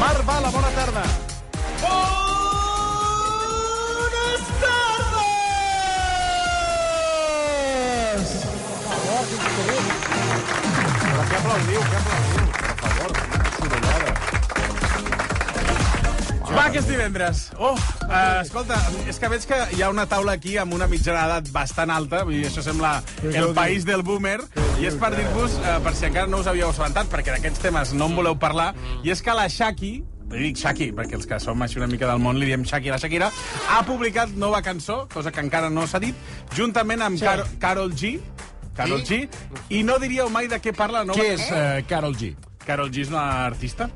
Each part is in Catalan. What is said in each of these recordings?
Marc Bala, bona tarda. Buenas tardes. Però què aplaudiu, què aplaudiu, per favor. quina sorollada. Va, que és divendres. Oh, eh, escolta, és que veig que hi ha una taula aquí amb una mitjana d'edat bastant alta, vull dir, això sembla el país del boomer, i és per dir-vos, eh, per si encara no us havíeu assabentat, perquè d'aquests temes no en voleu parlar, i és que la Shaki, li dic Shaki, perquè els que som així una mica del món li diem Shaki a la Shakira, ha publicat nova cançó, cosa que encara no s'ha dit, juntament amb Car Carol G, Carol G, i no diríeu mai de què parla la nova... Què és eh, Carol G? Carol G és una artista.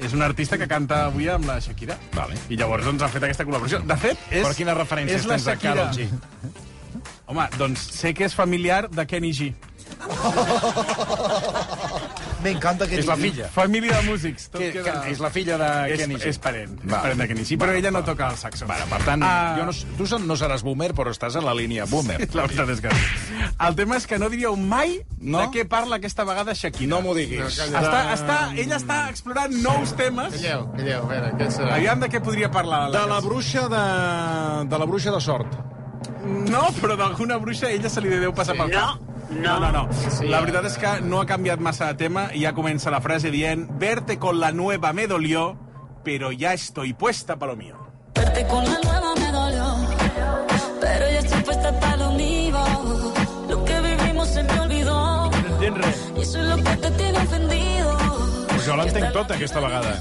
És una artista que canta avui amb la Shakira. Vale. I llavors doncs, ha fet aquesta col·laboració. De fet, és... Però quines referències és la tens de Shakira. Carol G? Home, doncs sé que és familiar de Kenny G. Me encanta que És la filla. Família de músics. Tot Que, que, queda... és la filla de és, Kenny G. És parent, és Vale. parent de Kenny G, però ella no toca el saxo. Vale, per tant, Ah. jo no, s- tu no seràs boomer, però estàs a la línia boomer. La veritat és que... no. El tema és que no diríeu mai No? de què parla aquesta vegada Shakira. No m'ho diguis. Està, està, ella està explorant nous temes. Calleu, calleu, a veure, què serà? Aviam de què podria parlar. De la bruixa de... de la bruixa de sort. No, però d'alguna bruixa a ella se li deu passar pel cap. No, no, no. La veritat és que no ha canviat massa de tema i ja comença la frase dient «Verte con la nueva me dolió, pero ya estoy puesta pa lo mío». Verte con la nueva me dolió, pero ya estoy puesta hasta lo mío. Lo que vivimos se me olvidó, y eso es lo que te tiene ofendido. Pues jo l'entenc tota, aquesta vegada.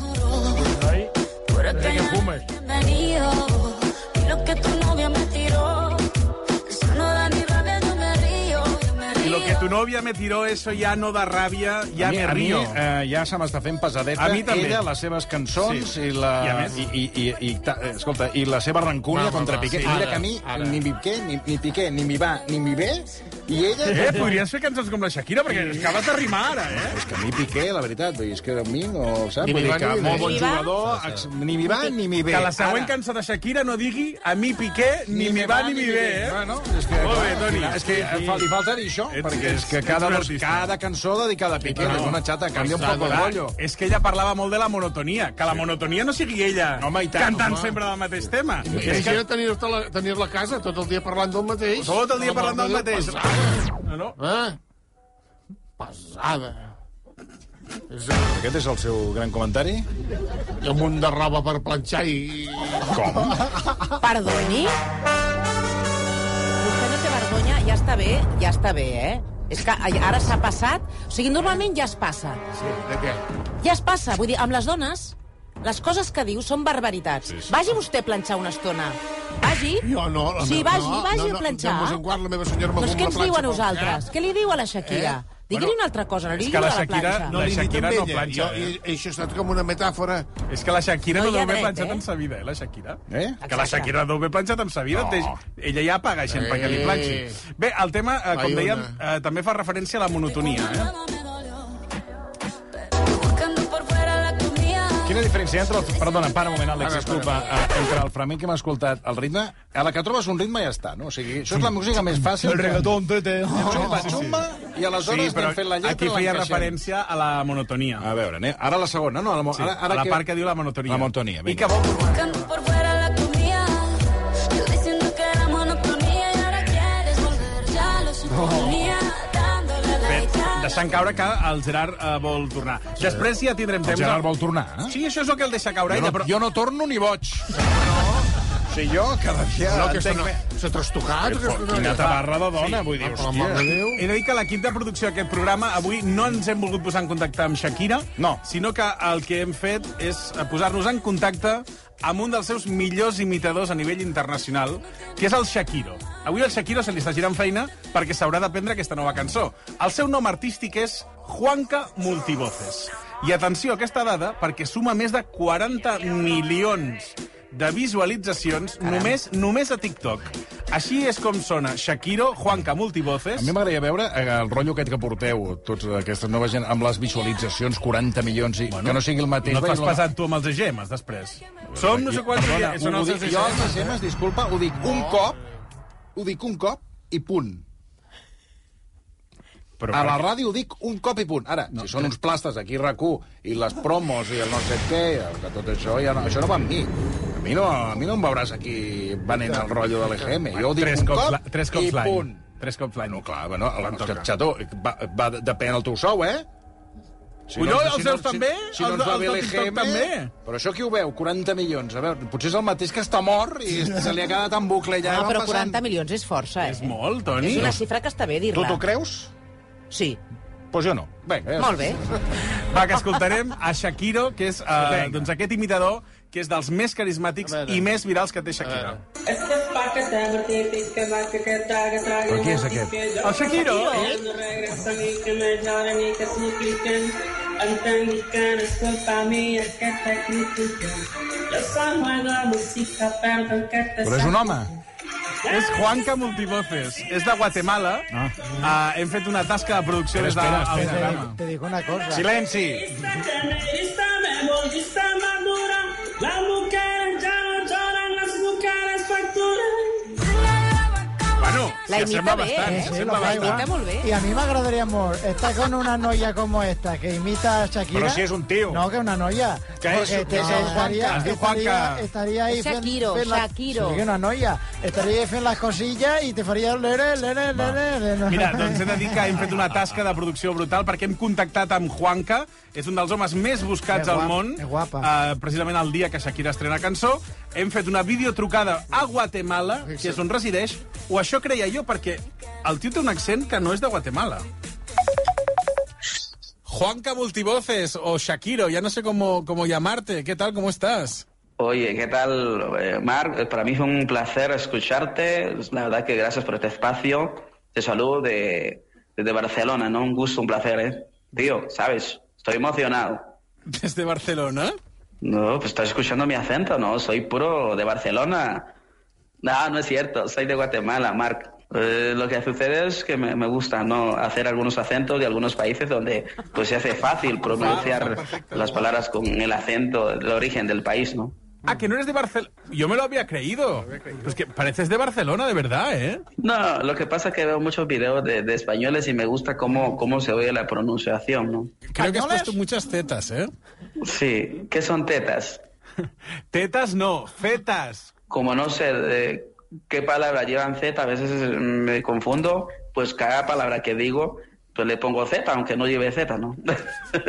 Por acá ya no eres bienvenido, y lo que tu novia me tiró, eso no da ni rabia, yo me río, yo me Y lo que río. tu novia me tiró, eso ya no da rabia, ya a mi, me a mi río. eh, ja se m'està fent pesadeta. A mi també. Ella, les seves cançons Sí. i la... I a més? I, i, i, i, ta, eh, escolta, i la seva rancúnia Va, va, contra va, Piqué. sí. Mira Ara, que a mi ara. ni Piqué, ni, ni Piqué, ni mi va, ni mi ve, i ella... Eh, podries fer cançons com la Shakira, perquè acabes de rimar ara, eh? És que a mi Piqué, la veritat, vull dir, és que a mi no, saps? Ni Vull dir m'hi va, que ni m'hi molt ve. bon Ni m'hi va. jugador, ex- ni m'hi va ni m'hi ve. Ah, Que la següent Ara, cançó de Shakira no digui «A mi Piqué, ni, me va ni me ve», eh? Bueno, Ah, és que, Molt bé, Toni. És que eh, fa- li falta dir això, Ets- perquè és que ets- cada, ets un dos, artista. cada cançó dedicada a Piqué, que és una xata, canvia un poc el Clar, rotllo. És que ella parlava molt de la monotonia. Que la monotonia no sigui ella Home, i tant, cantant home. sempre el mateix tema. És que Imagina tenir-te la- tenir-la a casa tot el dia parlant del mateix. tot el dia parlant del mateix. No, no. Eh? Pesada. És Aquest és el seu gran comentari? un munt de roba per planxar i... Com? Perdoni? Vostè no té vergonya, ja està bé, ja està bé, eh? És que ara s'ha passat... O sigui, normalment ja es passa. Sí, de què? Ja es passa. Vull dir, amb les dones, les coses que diu són barbaritats. Sí, sí. Vagi vostè a planxar una estona. Vagi. Jo no. La Sí, meva- vagi, no, vagi no, no, a planxar. No, no, guard, la meva senyora Doncs m'agum què la ens planxa Eh? diu a pel nosaltres? cap. Què li diu a la Shakira? Eh? Digue-li una altra cosa, no li diu és que de la la Shakira planxa. no No, La li he dit Shakira amb no ella. planxa, Jo, eh? i- Això ha estat com una metàfora. És que la Shakira No hi no, ha deu haver dret, planxat eh? en sa vida, eh, la Shakira. Eh? Que la Shakira deu haver planxat en sa vida. No. Té- Ella ja paga gent Eh. perquè li planxi. Bé, el tema, eh, com Ai, dèiem, una. eh, també fa referència a la monotonia. Eh? Buscando por fuera la comida. Quina diferència hi ha entre... El... Perdona, para un moment, Àlex, disculpa. eh, Entre el flamenc que hem escoltat, el ritme... A la que trobes un ritme ja està, no? O sigui, això és la música més fàcil. El reggaeton, tete. Xumba, xumba, i aleshores anem fent la lletra... aquí i feia l'encaixem. referència a la monotonia. A veure, anem. ara la segona, no? Ara, Sí, a la part que diu la monotonia. La monotonia, I vinga. que vol... Buscando por fuera la comida. Yo diciendo que era monotonía y ahora quieres volver. Ya lo suponía, dándole la Fet, guitarra. deixant caure que el Gerard eh, vol tornar. Després ja tindrem El temps... Gerard vol tornar, eh? Sí, això és el que el deixa caure Jo ella, no, però... jo no torno ni boig. No. Sí, jo cada dia... No, que s'ha s'ha trastocat. aquesta noia. Quina tabarra de dona, Ah, vull dir, Per la hòstia. mare de Déu. He de dir que l'equip de producció d'aquest programa avui no ens hem volgut posar en contacte amb Shakira, No. sinó que el que hem fet és eh, posar-nos en contacte amb un dels seus millors imitadors a nivell internacional, que és el Shakiro. Avui al Shakiro se li està girant feina perquè s'haurà d'aprendre aquesta nova cançó. El seu nom artístic és Juanca Multivoces. I atenció a aquesta dada, perquè suma més de 40 milions de visualitzacions només només a TikTok. Així és com sona Shakiro, Juanca Multivoces... A mi m'agradaria veure eh, el rotllo aquest que porteu, tots aquesta nova gent, amb les visualitzacions, 40 milions, i que no sigui el mateix. No t'has perquè- passat tu amb els EGMs, després. Som no sé quants... Perdona, dia- ho, ho són els dic, seus jo els EGMs. SMS, disculpa, ho dic un cop, ho dic un cop i punt. Però a per la què? ràdio ho dic un cop i punt. Ara, si són uns plastes aquí rac i les promos i el no sé què, i el que tot això, ja no, això no va amb mi. A mi no, a mi no em veuràs aquí venent el rotllo de l'EGM. Jo ho dic Tres un cops, cop la- tres cops i l'any. punt. Tres cops l'any. No, clar, bueno, el, xató, va, va, depèn del teu sou, eh? Si Collons, els seus si, també? Si no Els ens va de- els bé del TikTok l'EGM... també? Però això qui ho veu? 40 milions. A veure, potser és el mateix que està mort i se li ha quedat en bucle allà. Ah, va però passant. 40 milions és força, eh? És molt, Toni. És una xifra que està bé Tu dir-la. t'ho creus? Sí, Pues jo no. Vinga, ja molt bé. Va, que escoltarem a Shakiro, que és eh, doncs aquest imitador que és dels més carismàtics A veure. i més virals que té Shakiro. Però qui és aquest? El Shakiro? Però és un home. És Juanca Multivoces. És de Guatemala. Ah. Uh, hem fet una tasca de producció des del espera, espera. programa. Te digo una cosa. Silenci! Bueno, La s'hi imita assembla bé, bastant. eh? s'hi Sí, assembla lo fa bastant. igual. Está muy bien. Y a mí me agradaría amor estar con una noia como esta que imita a Shakira. Pero si es un tío. No, que una noia. Que es- Porque que eh, es Juanca, estaría, es de Juanca. estaría, estaría ahí. Es fent- Shakiro, fent las- Shakiro. Sí, que una noia. Estaría ahí en las cosillas y te faría lere, lere, lere, lere. Mira, doncs he de dir que hem fet una tasca de producció brutal perquè hem contactat amb Juanca, és un dels homes més buscats Que guap- al món, que guapa. eh, precisament el dia que Shakira estrena cançó. Hem fet una videotrucada a Guatemala, que és on resideix, o això creia jo, perquè el tio té un accent que no és de Guatemala. Juanca Multivoces o Shakiro, ya no sé cómo, cómo llamarte. ¿Qué tal? ¿Cómo estás? Oye, ¿qué tal, eh, Marc? Eh, Para mí fue un placer escucharte. Pues, La verdad que gracias por este espacio. Te saludo de, desde Barcelona, ¿no? Un gusto, un placer, ¿eh? Tío, ¿sabes? Estoy emocionado. Desde Barcelona. No, pues estás escuchando mi acento, ¿no? Soy puro de Barcelona. No, no es cierto, soy de Guatemala, Marc. Eh, lo que sucede es que me, me gusta ¿no? hacer algunos acentos de algunos países donde pues se hace fácil pronunciar las palabras con el acento, el origen del país, ¿no? Ah, que no eres de Barcelona. Yo me lo había creído. Pues que pareces de Barcelona, de verdad, ¿eh? No, lo que pasa es que veo muchos videos de, de españoles y me gusta cómo, cómo se oye la pronunciación, ¿no? Creo que has puesto muchas tetas, ¿eh? Sí, ¿qué son tetas? Tetas no, fetas. Como no sé de qué palabra llevan Z, a veces eh, me confundo, pues cada palabra que digo, pues le pongo Z, aunque no lleve Z, ¿no?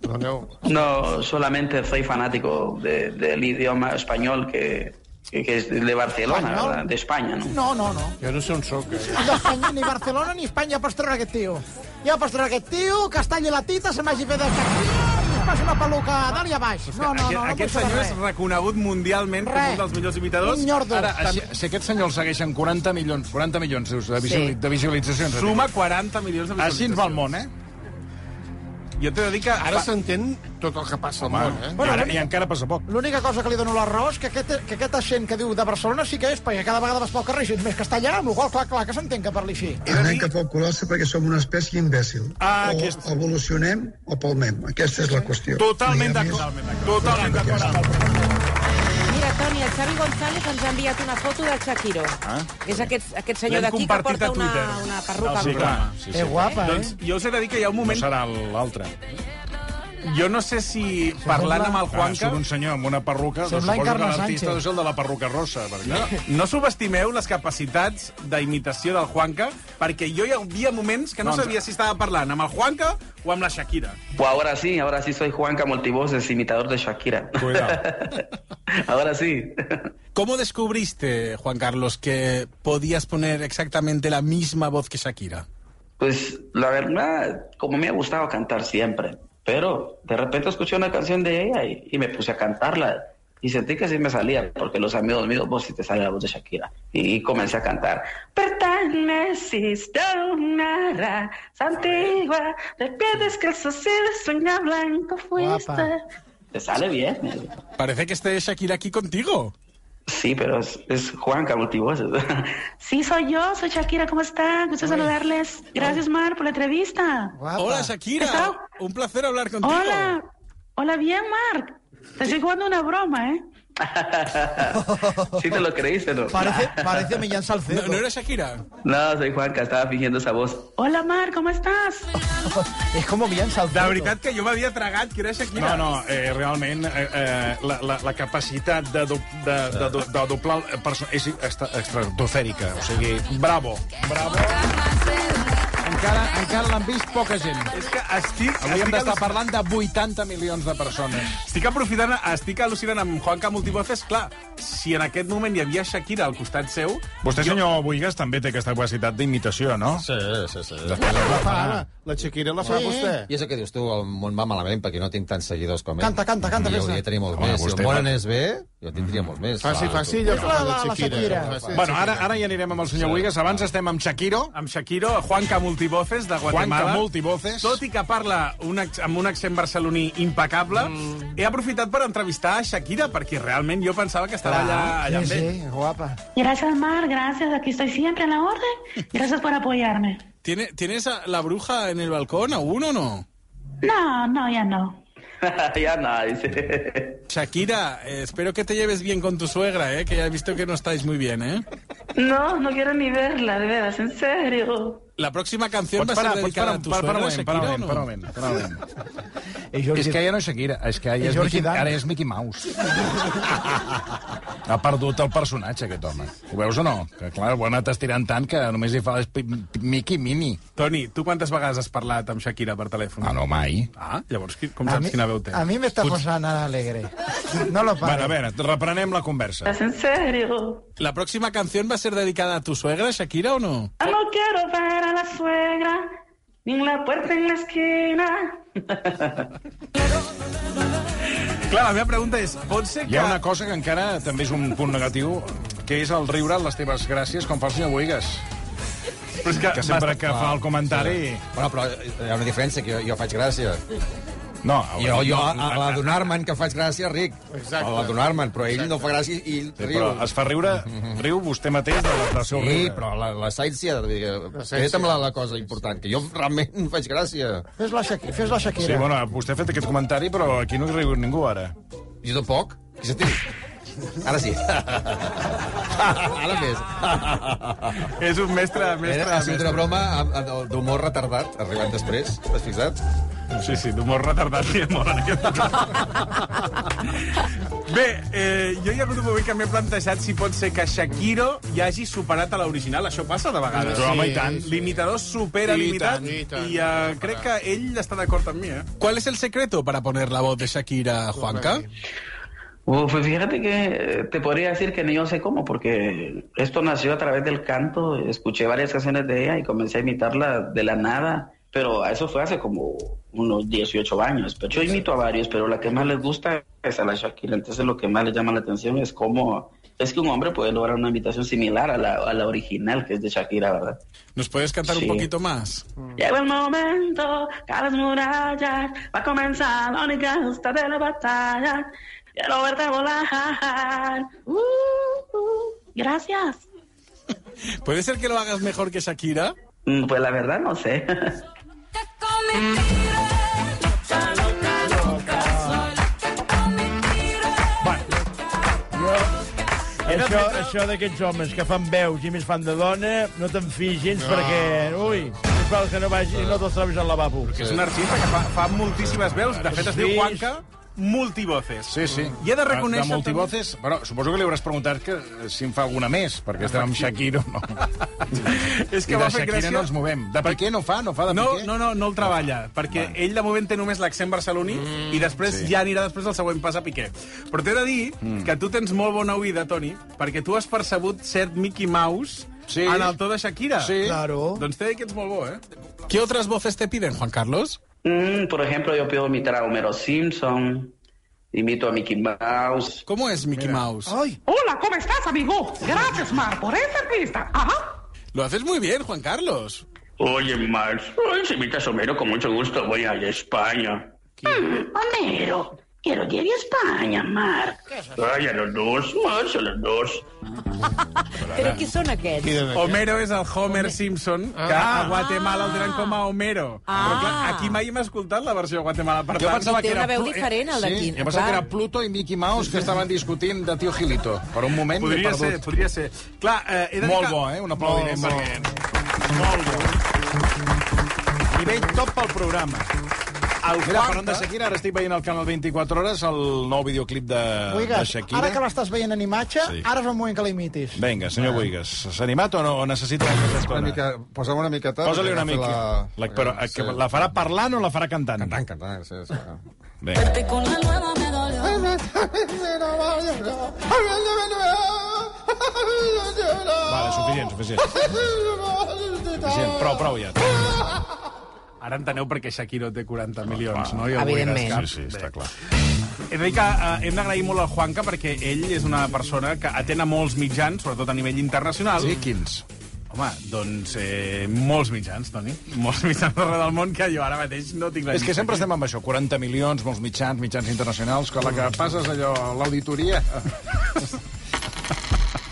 Perdoneu. no, solamente soy fanático de- del idioma español que, que- que es de Barcelona, Español. ¿verdad? de España, ¿no? No, no, no. Jo no sé on sóc. Eh? Ni Espanya, ni Barcelona ni Espanya pots treure aquest tio. Ja pots treure aquest tio, castanya la tita, se m'hagi fet el cacillo, es passa una peluca a dalt i a baix. No, no, aquest no, no, aquest no senyor és reconegut mundialment com Res. un dels millors imitadors. Un nyordo. Ara, Si, si aquests senyors segueixen 40 milions, 40 milions dius, de, visual, Sí. de visualitzacions... de suma 40 milions de TikTok. Així ens va el món, eh? Jo t'he de dir que... Ara s'entén tot el que passa al món, eh? Bueno, I, ara, I encara passa poc. L'única cosa que li dono la raó és que, aquest, que aquesta gent que diu de Barcelona sí que és, perquè cada vegada vas pel carrer i si és més castellà, amb la qual cosa, clar, clar, que s'entén que parli així. Anem cap al col·lapse perquè som una espècie imbècil. o Ah, aquest- evolucionem o palmem. Aquesta és la qüestió. Totalment No hi ha d'acord. més. Totalment d'acord. Mira, Toni, el Xavi González ens ha enviat una foto del Shakiro. Ah? És aquest, aquest senyor L'hem d'aquí que compartit porta a una, Twitter. una perruca. Sí, clar. Sí, És sí. guapa, eh? Doncs jo us he de dir que hi ha un No moment... serà l'altre. Jo no sé si parlant amb el Quan surt Juanca... un senyor amb una perruca, doncs Sembla suposo que Encarna l'artista Sánchez. és el de la perruca rossa. Perquè... No subestimeu les capacitats d'imitació del Juanca, perquè jo hi havia moments que no Doncs- sabia si estava parlant amb el Juanca o amb la Shakira. Pues ahora sí, ahora sí soy Juanca Multivoces, imitador de Shakira. ahora sí. ¿Cómo descubriste, Juan Carlos, que podías poner exactamente la misma voz que Shakira? Pues la verdad, como me ha gustado cantar siempre, pero de repente escuché una canción de ella y, y me puse a cantarla y sentí que sí me salía, porque los amigos míos, vos si te sale la voz de Shakira. Y, y comencé a cantar. Pertane una antigua, de piedras que el socio de sueña blanco fuiste. Guapa. Te sale bien. Parece que esté Shakira aquí contigo. Sí, pero es, es Juanca multivoces. Sí, soy yo, soy Shakira, ¿cómo están? Gusto saludarles. Gracias, Mar, por la entrevista. Hola, Shakira. Está- Un placer hablar contigo. Hola, hola, bien, Mar. Te estoy jugando una broma, ¿eh? sí te lo creíste, ¿no? Parece, parece Millán Salcedo. No, no era Shakira. No, soy Juanca, estaba fingiendo esa voz. Hola, Mar, ¿cómo estás? És com Millán Salcedo. La veritat que jo m'havia tragat que era No, Shakira. no, eh, realment eh, eh, la, la, la capacitat de, do, de, de, de, de doblar el perso- és extra- estratosfèrica. O sigui, bravo. Bravo. Encara, encara l'han vist poca gent. És que estic... Avui hem estic d'estar al·luci- parlant de 80 milions de persones. Estic aprofitant, estic al·lucinant amb Juanca Multivoces. Clar, si en aquest moment hi havia Shakira al costat seu... Vostè, senyor Buigas, també té aquesta capacitat d'imitació, no? Sí, sí, sí. Després La fa, la, Ah, la Shakira la fa Ah. Sí. vostè. I és el que dius tu, el món va malament perquè no tinc tants seguidors com ell. Canta, canta, canta, Jo fes-la. hauria de tenir molts Home, més. Si el vostè món va- anés bé, jo tindria molts més. Faci, Ah, Clar, faci tu- allò que fa la Shakira. Bueno, ara, ara ja anirem amb el senyor Buigas. Abans estem amb Shakiro. Amb Shakiro, Juanca Multivoces, de Guatemala. Juanca Multivoces. Tot i que parla un, ac- amb un accent barceloní impecable, he aprofitat per entrevistar a Shakira, perquè realment jo pensava que estava allà, Ah, allà amb ell. guapa. Gracias, Mar, gracias. Aquí estoy siempre en la orden. Gracias por apoyarme. ¿Tiene, ¿Tienes a la bruja en el balcón aún o no? No, no, ya no. ya no, dice. Shakira, eh, espero que te lleves bien con tu suegra, eh, que ya he visto que no estáis muy bien. Eh. No, no quiero ni verla, de veras, en serio. La próxima canción Pots va a parar, ser pots dedicada parar, a tu para, para, suegra, un moment, para, Shakira, un ¿o moment, no? para, un moment, para un moment. Jordi- És que ja no és Shakira, és que I ja és Jordi Mickey, Dan. ara és Mickey Mouse. ha perdut el personatge, aquest home. Ho veus o no? Que, clar, ho ha anat estirant tant que només hi fa les pi- pi- Mickey Mini. Toni, tu quantes vegades has parlat amb Shakira per telèfon? Ah, no, mai. Ah, llavors qui- com A saps mi, quina veu té? a mi m'està posant ara alegre. No lo Bueno, a paro. veure, reprenem la conversa. ¿Es en serio? ¿La próxima canción va a ser dedicada a tu suegra, Shakira, o no? Ya Ah, no quiero ver a la suegra, ni en la puerta en la esquina. Clar, la meva pregunta és, pot ser que... Hi ha una cosa que encara també és un punt negatiu, que és el riure a les teves gràcies com fa el senyor Boigas. Però és Que sempre que fa el comentari... Bueno, però eh, hi ha una diferència, que jo, jo faig gràcia. No, Jo, jo a, a l'adonar-me'n que faig gràcia, ric. Exacte. A l'adonar-me'n, però ell no fa gràcia i ell Sí, riu. però es fa riure, riu vostè mateix del, del seu Sí, riure. però la, la Saitsia, fet amb la, la cosa important, que jo realment faig gràcia. Fes la Shakira. Fes la Sí, Shakira. bueno, vostè ha fet aquest comentari, però aquí no hi riu ningú, ara. Jo tampoc. Qui se té? Ara sí. Ara més. És un mestre, mestre, Era, ha sigut eh? mestre. una broma amb- amb- d'humor retardat, arribant després. T'has fixat? Sí, sí, d'humor retardat n'hi ha molt en aquest Bé, eh, jo hi ha hagut un moment que m'he plantejat si pot ser que Shakiro ja hagi superat a l'original. Això passa de vegades. Sí, home, i tant. L'imitador supera I l'imitat tant, i, i tant. eh, crec que ell està d'acord amb mi, eh? ¿Cuál es el secreto para poner la voz de Shakira, Juanca? Uf, pues fíjate que eh, te podría decir que ni yo sé cómo, porque esto nació a través del canto. Escuché varias canciones de ella y comencé a imitarla de la nada. Pero eso fue hace como unos 18 años. Pero yo imito a varios, pero la que más les gusta es a la Shakira. Entonces lo que más les llama la atención es cómo es que un hombre puede lograr una imitación similar a la, a la original, que es de Shakira, ¿verdad? ¿Nos puedes cantar Sí. un poquito más? Llega el momento, que a las murallas va a comenzar la única justa de la batalla. Quiero verte volar. Uh, uh. Gracias. ¿Puede ser que lo hagas mejor que Shakira? Mm, Pues la verdad no sé. Això, això d'aquests homes que fan veus i més fan de dona, no te'n fiïs gens no. perquè... Ui, sisplau, que no vagis i no te'ls trobis al lavabo. que és un artista que fa, fa moltíssimes veus. De fet, es diu Sí. Juanca Multivoces. Sí, sí. I he de reconèixer... De multivoces... Bueno, suposo que li hauràs preguntat que eh, si en fa alguna més, perquè estem amb Shakiro, no? És I que de va fer Shakira gràcia... no ens movem. De Piqué no fa, no fa de No, Piqué? no, no, no el treballa, perquè ell de moment té només l'accent barceloní i després ja anirà després del següent pas a Piqué. Però t'he de dir que tu tens molt bona oïda, Toni, perquè tu has percebut cert Mickey Mouse Sí. en el to de Shakira. Sí. Claro. Doncs t'he de dir que ets molt bo, eh? ¿Qué otras voces te piden, Juan Carlos? Mm, por ejemplo, yo puedo imitar a Homero Simpson, imito a Mickey Mouse. ¿Cómo es Mickey Mouse? Ah. Ai, Hola, ¿cómo estás, amigo? Gracias, Mar, por esa entrevista. Ajá. Lo haces muy bien, Juan Carlos. Oye, Max, ay, si invitas a Homero, con mucho gusto voy a España. Mm, Homero, Quiero que ir a España, Marc. Ay, a los dos, más a los dos. Però qui són aquests? Homero és el Homer Simpson, que Ah. a Guatemala el tenen com a Homero. Però clar, aquí mai hem escoltat la versió de Guatemala. Per Jo tant, pensava que era Plu- Sí, Sí, jo pensava que era Pluto i Mickey Mouse que estaven discutint de Tio Gilito. Per un moment m'he Podria perdut. ser, podria ser. Clar, eh, he de dir Molt que- bo, eh? Un aplaudiment Molt, perquè- Nivell top pel programa. El Mira, Juanca- parlant de Shakira, ara estic veient al canal 24 Hores el nou videoclip de, de Buigas, Shakira. ara que l'estàs veient en imatge, Sí. ara és el moment que l'imitis. Vinga, senyor Buigas, s'ha animat o no? O necessita una estona? mica, posa'm una miqueta. Posa-li una perquè mica. la- La, però eh, que la farà parlant o la farà cantant? Cantant, cantant, sí, sí. Vinga. Con la nueva me dolió. Vale, suficient, suficient. suficient. Prou, prou ja. Ara enteneu per què Shakiro té 40 milions, no? I el Evidentment. Boigas cap. Sí, sí, està clar. Enrica, eh, hem d'agrair molt al Juanca perquè ell és una persona que atén a molts mitjans, sobretot a nivell internacional. Sí, quins? Home, doncs eh, molts mitjans, Toni. Molts mitjans d'arreu del món que jo ara mateix no tinc la És que sempre estem amb això, 40 milions, molts mitjans, mitjans internacionals, que la que passes allò, a l'auditoria...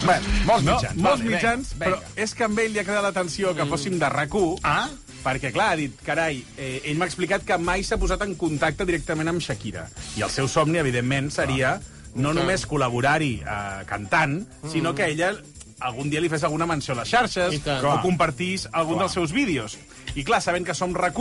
Bé, molts no, mitjans. molts vale, mitjans, vinga, però vinga. és que amb ell li ha quedat l'atenció que fóssim de rac Ah? Perquè, clar, ha dit, carai, eh, ell m'ha explicat que mai s'ha posat en contacte directament amb Shakira. I el seu somni, evidentment, seria no Clar. Mm. només col·laborar-hi eh, cantant, sinó que ella algun dia li fes alguna menció a les xarxes I tant. o Clar. compartís algun Clar. dels seus vídeos. I clar, sabent que som rac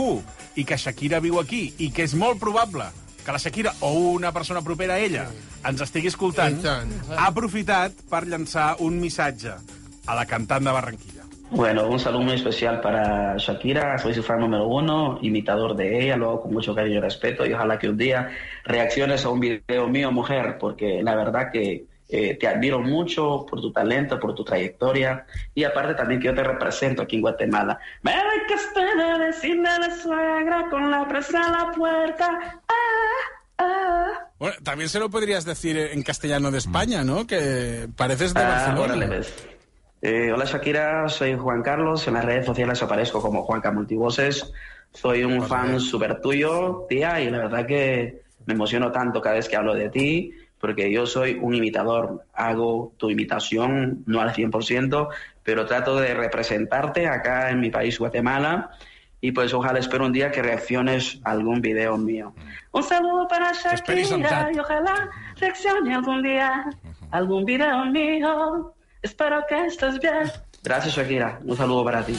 i que Shakira viu aquí i que és molt probable que la Shakira o una persona propera a ella ens estigui escoltant, ha aprofitat per llançar un missatge a la cantant de Barranquilla. Bueno, un saludo muy especial para Shakira, soy su fan número uno, imitador de ella, lo hago con mucho cariño y respeto y ojalá que un día reacciones a un video mío, mujer, porque la verdad que eh, te admiro mucho por tu talento, por tu trayectoria y aparte también que yo te represento aquí en Guatemala. Me de castella vecina de la suegra con la presa a la puerta. Ah, ah. Bueno, también se lo podrías decir en castellano de España, ¿no? Que pareces de Ah, Barcelona. órale, ves. Eh, hola Shakira, soy Juan Carlos. En las redes sociales aparezco como Juanca Multivoces. Soy un fan súper tuyo, tía, y la verdad que me emociono tanto cada vez que hablo de ti, porque yo soy un imitador. Hago tu imitación, no al 100%, pero trato de representarte acá en mi país, Guatemala. Y pues ojalá espero un día que reacciones a algún video mío. Un saludo para esperis Shakira sentat. y ojalá reaccione algún día a algún video mío. Espero que estés bien. Gracias, Shakira. Un saludo para ti.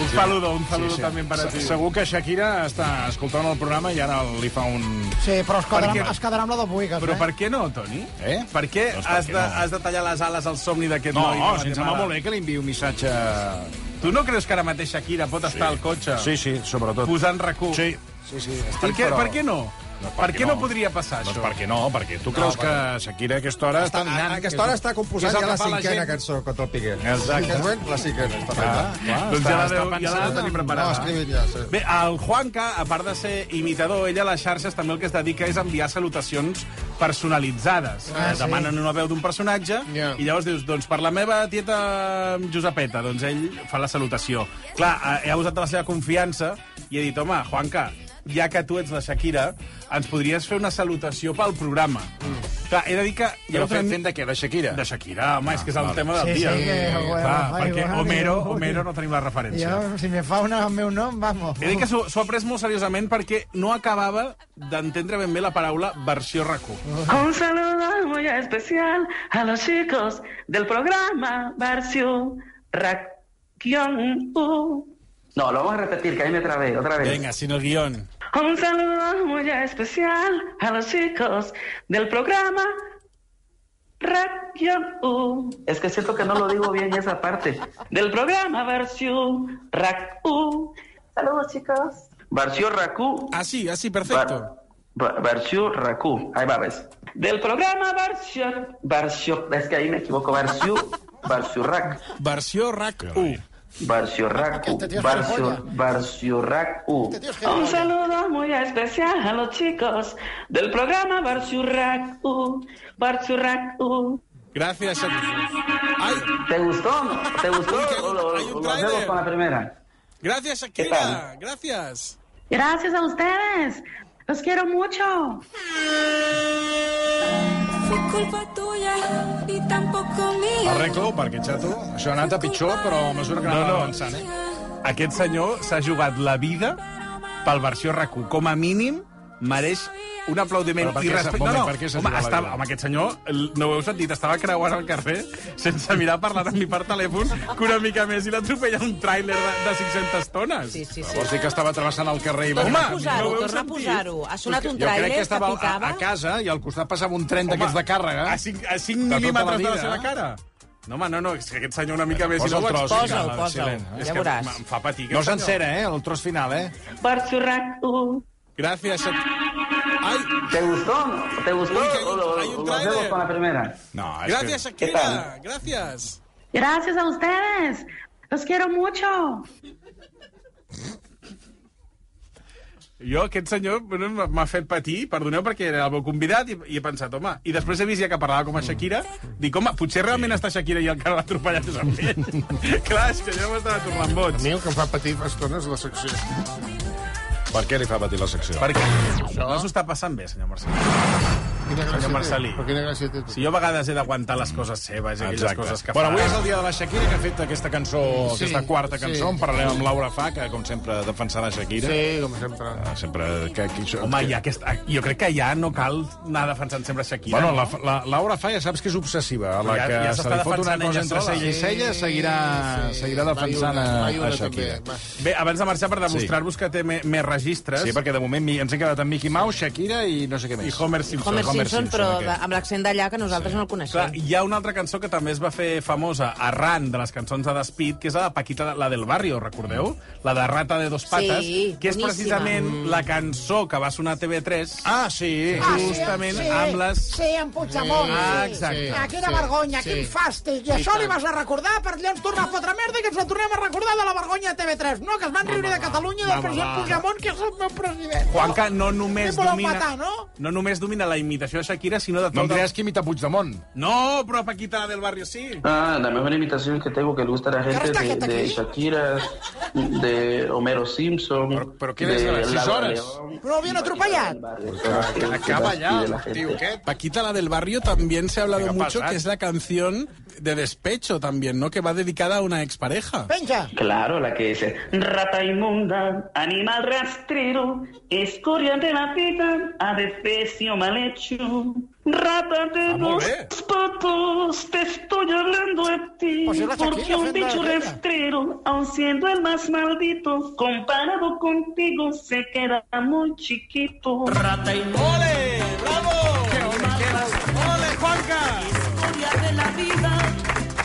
Un saludo, un saludo també per a Se- ti. Segur que Shakira està escoltant el programa i ara li fa un... Sí, però es quedarà, Per què? es quedarà amb la del Buigas, Però eh? per què no, Toni? Eh? Per què Doncs per has, què de, no? has de tallar les ales al somni d'aquest No, noi? si ens va molt bé que li enviï un missatge... Tu no creus que ara mateix Shakira pot estar al cotxe Sí, sí, sobretot. posant recu? Sí, sí, sí. Per què, per què no? No, per què no podria passar, doncs això? perquè no, perquè tu creus No, que Shakira a aquesta hora està anant... A aquesta hora està composant ja la cinquena cançó contra el Piqué. Exacte. De moment, La cinquena. Està Clar, Ah, feta. clar, Doncs Ah, ja està- la està deu- ja l'ha de pensant. tenir preparada. No, escrivint ja, sí. Bé, el Juanca, a part de ser imitador, ell a les xarxes també el que es dedica és a enviar salutacions personalitzades. Ah, Eh, sí. Demanen una veu d'un personatge Ja. i llavors dius, doncs per la meva tieta Josepeta, doncs ell fa la salutació. Clar, eh, ha usat de la seva confiança i ha dit, home, Juanca, ja que tu ets la Shakira, ens podries fer una salutació pel programa. Mm. Clar, he de dir que... Però fent- fent de què? De Shakira? De Shakira, home, és que és el vale. tema del Sí, dia. sí, que- Clar, bueno, perquè ai, bueno, Homero, Déu. Homero no tenim la referència. Jo, si me fa una el meu nom, vamos. He dit que s'ho s'ho ha pres molt seriosament perquè no acabava d'entendre ben bé la paraula versió RAC1. Un saludo muy especial a los chicos del programa Barcio Raquion U. No, lo vamos a repetir, que ahí me trabé, otra vez. Venga, sin el guión. Un saludo muy especial a los chicos del programa Raquion U. Es que siento que no lo digo bien esa parte. Del programa Barcio Rac U. Saludos, chicos. Barció Racú. Ah, sí, ah, sí, perfecto. Barció Racú. Ahí va, ves. Del programa Barcio. Barcio, es que ahí me equivoco. Barcio, Barcio Rac. Versió RAC1. Barcio Racu. Barcio, Barcio Racu. Un saludo muy especial a los chicos del programa Barcio Rac U. Barcio Rac U. Gràcies, Shakira. ¿Te gustó? o no? ¿Te gustó? ¿O lo, o lo hacemos con la primera? Gràcies, Què tal? Gràcies. Gracias a ustedes. Los quiero mucho. Fue culpa tuya y tampoco mía. Arreglo, perquè, xato, això ha anat a pitjor, però a mesura que No, anava no. avançant, eh? Aquest senyor s'ha jugat la vida pel versió rac Com a mínim, mereix un aplaudiment Però per i què s'ha- respecte. moment, per què s'ha home, jugat la estava, vida? home, aquest senyor, l- no ho heu sentit, estava creuant el carrer sense mirar parlant amb mi per telèfon que una mica més i l'atropella un tràiler de, de 500 tones. Sí, sí, Vols dir que estava travessant el carrer i va... Torna a Home, posar-ho, no ho heu torna a sentit? posar-ho. Ha sonat Jo un crec tràiler que que estava a, picava. a casa eh, i al costat passava un tren d'aquests de càrrega. A 5, a tota 5 la mil·límetres de la vida. seva cara. No, home, no, no, és que aquest senyor una mica més... Posa i el no ho tros, explica. Posa'l, posa'l. Silent. Ja És que veuràs. m- Em fa patir, eh? No s'encera, eh, el tros final, eh? Versió rac Gràcies, Xat... Ai, ¿Te gustó? ¿Te gustó? ¿O lo, lo hacemos con la primera? No, es Gracias, que- Shakira. ¿Qué tal? Gràcies. Gracias a ustedes. Los quiero mucho. Jo, aquest senyor bueno, m- m'ha fet patir, perdoneu, perquè era el meu convidat i, i he pensat, home... I després he vist ja que parlava com a Shakira, dic, home, potser realment està Shakira i el que l'ha atropellat és a mi. Clar, és que jo m'estava tornant boig. A mi el que em fa patir fa estona és la secció. Per què li fa patir la secció? Perquè no s'ho està passant bé, senyor Marcelí. Quina gràcia Senyor Marcelí. té. Però quina gràcia té. Si jo a vegades he d'aguantar les coses seves i aquelles Exacte. coses que Bueno, fa... avui és el dia de la Shakira, que ha fet aquesta cançó, Sí, sí, aquesta quarta sí. cançó. En parlarem amb Laura Fa, que, com sempre, defensant a Shakira. Sí, com sempre. Ah, sempre... Que, que, això- Home, que- ja aquest, ah, jo crec que ja no cal anar defensant sempre Shakira. Bueno, la, la, Laura Fa ja saps que és obsessiva. A la Ja- que ja se s'està li fot una defensant cosa entre ella sola. cella i cella, seguirà, seguirà defensant a, a Shakira. Bé, abans de marxar, per demostrar-vos que té me- més registres... Sí, perquè de moment mi- ens hem quedat amb Mickey Mouse, Shakira i no sé què més. I Homer Simpson. Homer Simpson, però de, amb l'accent d'allà que nosaltres sí. no el Clar, coneixem. hi ha una altra cançó que també es va fer famosa arran de les cançons de Despit, que és la de Paquita, la del barrio, recordeu? La de Rata de dos patas, Sí, que és boníssima. precisament Mm. la cançó que va sonar a TV3. Ah, sí. Justament amb les... Sí, amb Puigdemont. Sí, sí. ah, exacte. Ah, quina Sí, vergonya, sí. quin fàstic. I I això li tant. vas a recordar per allà ens tornar a fotre merda i que ens la tornem a recordar de la vergonya de TV3. No, que es van riure de Catalunya i va, del president va. Puigdemont, que és el meu president. Juanca no només voleu domina... matar, no? no només domina la imitació de Shakira, sinó de tot... No em diràs que imita Puigdemont. No, però Paquita, la del barrio, sí. Ah, la mejor imitación que tengo que le gusta a la gente de, de Shakira, de Homero Simpson. Pero, què ves a les sis hores? Però l'havien atropellat. Pues, ah, Acaba ya, tío, ¿qué? Paquita, la del barrio, también se ha hablado Venga, mucho, pasad. que es la canción de despecho también, ¿no? Que va dedicada a una expareja. Venga. Claro, la que dice. Rata inmunda, animal rastrero, escoria de la vida, adefesio mal hecho. Rata de Ah, dos patos, te estoy hablando de ti. Pues es la porque Shakira, un Fernanda, bicho venga. rastrero, aun siendo el más maldito, comparado contigo, se queda muy chiquito. Rata inmunda. ¡Bravo! ¡Qué ¡Ole, Juanca! de la vida,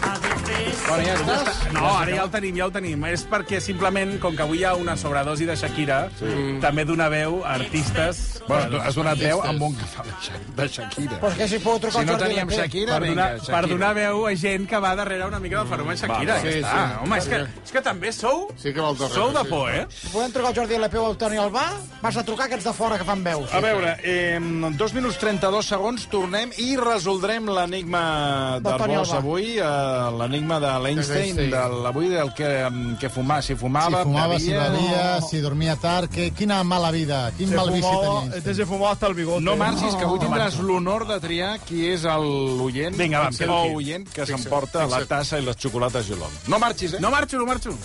adefesio Bueno, ja està. No, ara ja el tenim, ja el tenim. És perquè simplement, com que avui hi ha una sobredosi de Shakira, sí. també dona veu a artistes... Bueno, has donat veu amb un que fa de Sha- de Shakira. Pues que si puedo trucar Si no al Jordi teníem Leclerc. Shakira, per vinga, donar, Shakira. Per donar veu a gent que va darrere una mica del fenomen Shakira. va, ja sí, està. sí. Home, és que, és que també sou... Sí que darrere, sou de sí. por, eh? Podem trucar al Jordi Lepeu o al Toni Albà? Vas a trucar aquests de fora que fan veus. A veure, eh, dos minuts 32 segons, tornem i resoldrem l'enigma Del Toni d'Arbós Alba. avui, eh, l'enigma de l'Einstein, De l'Einstein. de l'avui del que, em, que fumar, si fumava, Si fumava, si bevia... bevia, si dormia tard, que, quina mala vida, quin Se mal vici fumaba- tenia. Este se fumó hasta el bigote. No marxis, que avui tindràs l'honor de triar qui és el oient, Vinga, va, em el quedo aquí. oient que Fixa't, s'emporta la fixa't. tassa i les xocolates Gilong. No marxis, eh? No marxo, no marxo.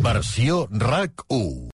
Versió RAC 1.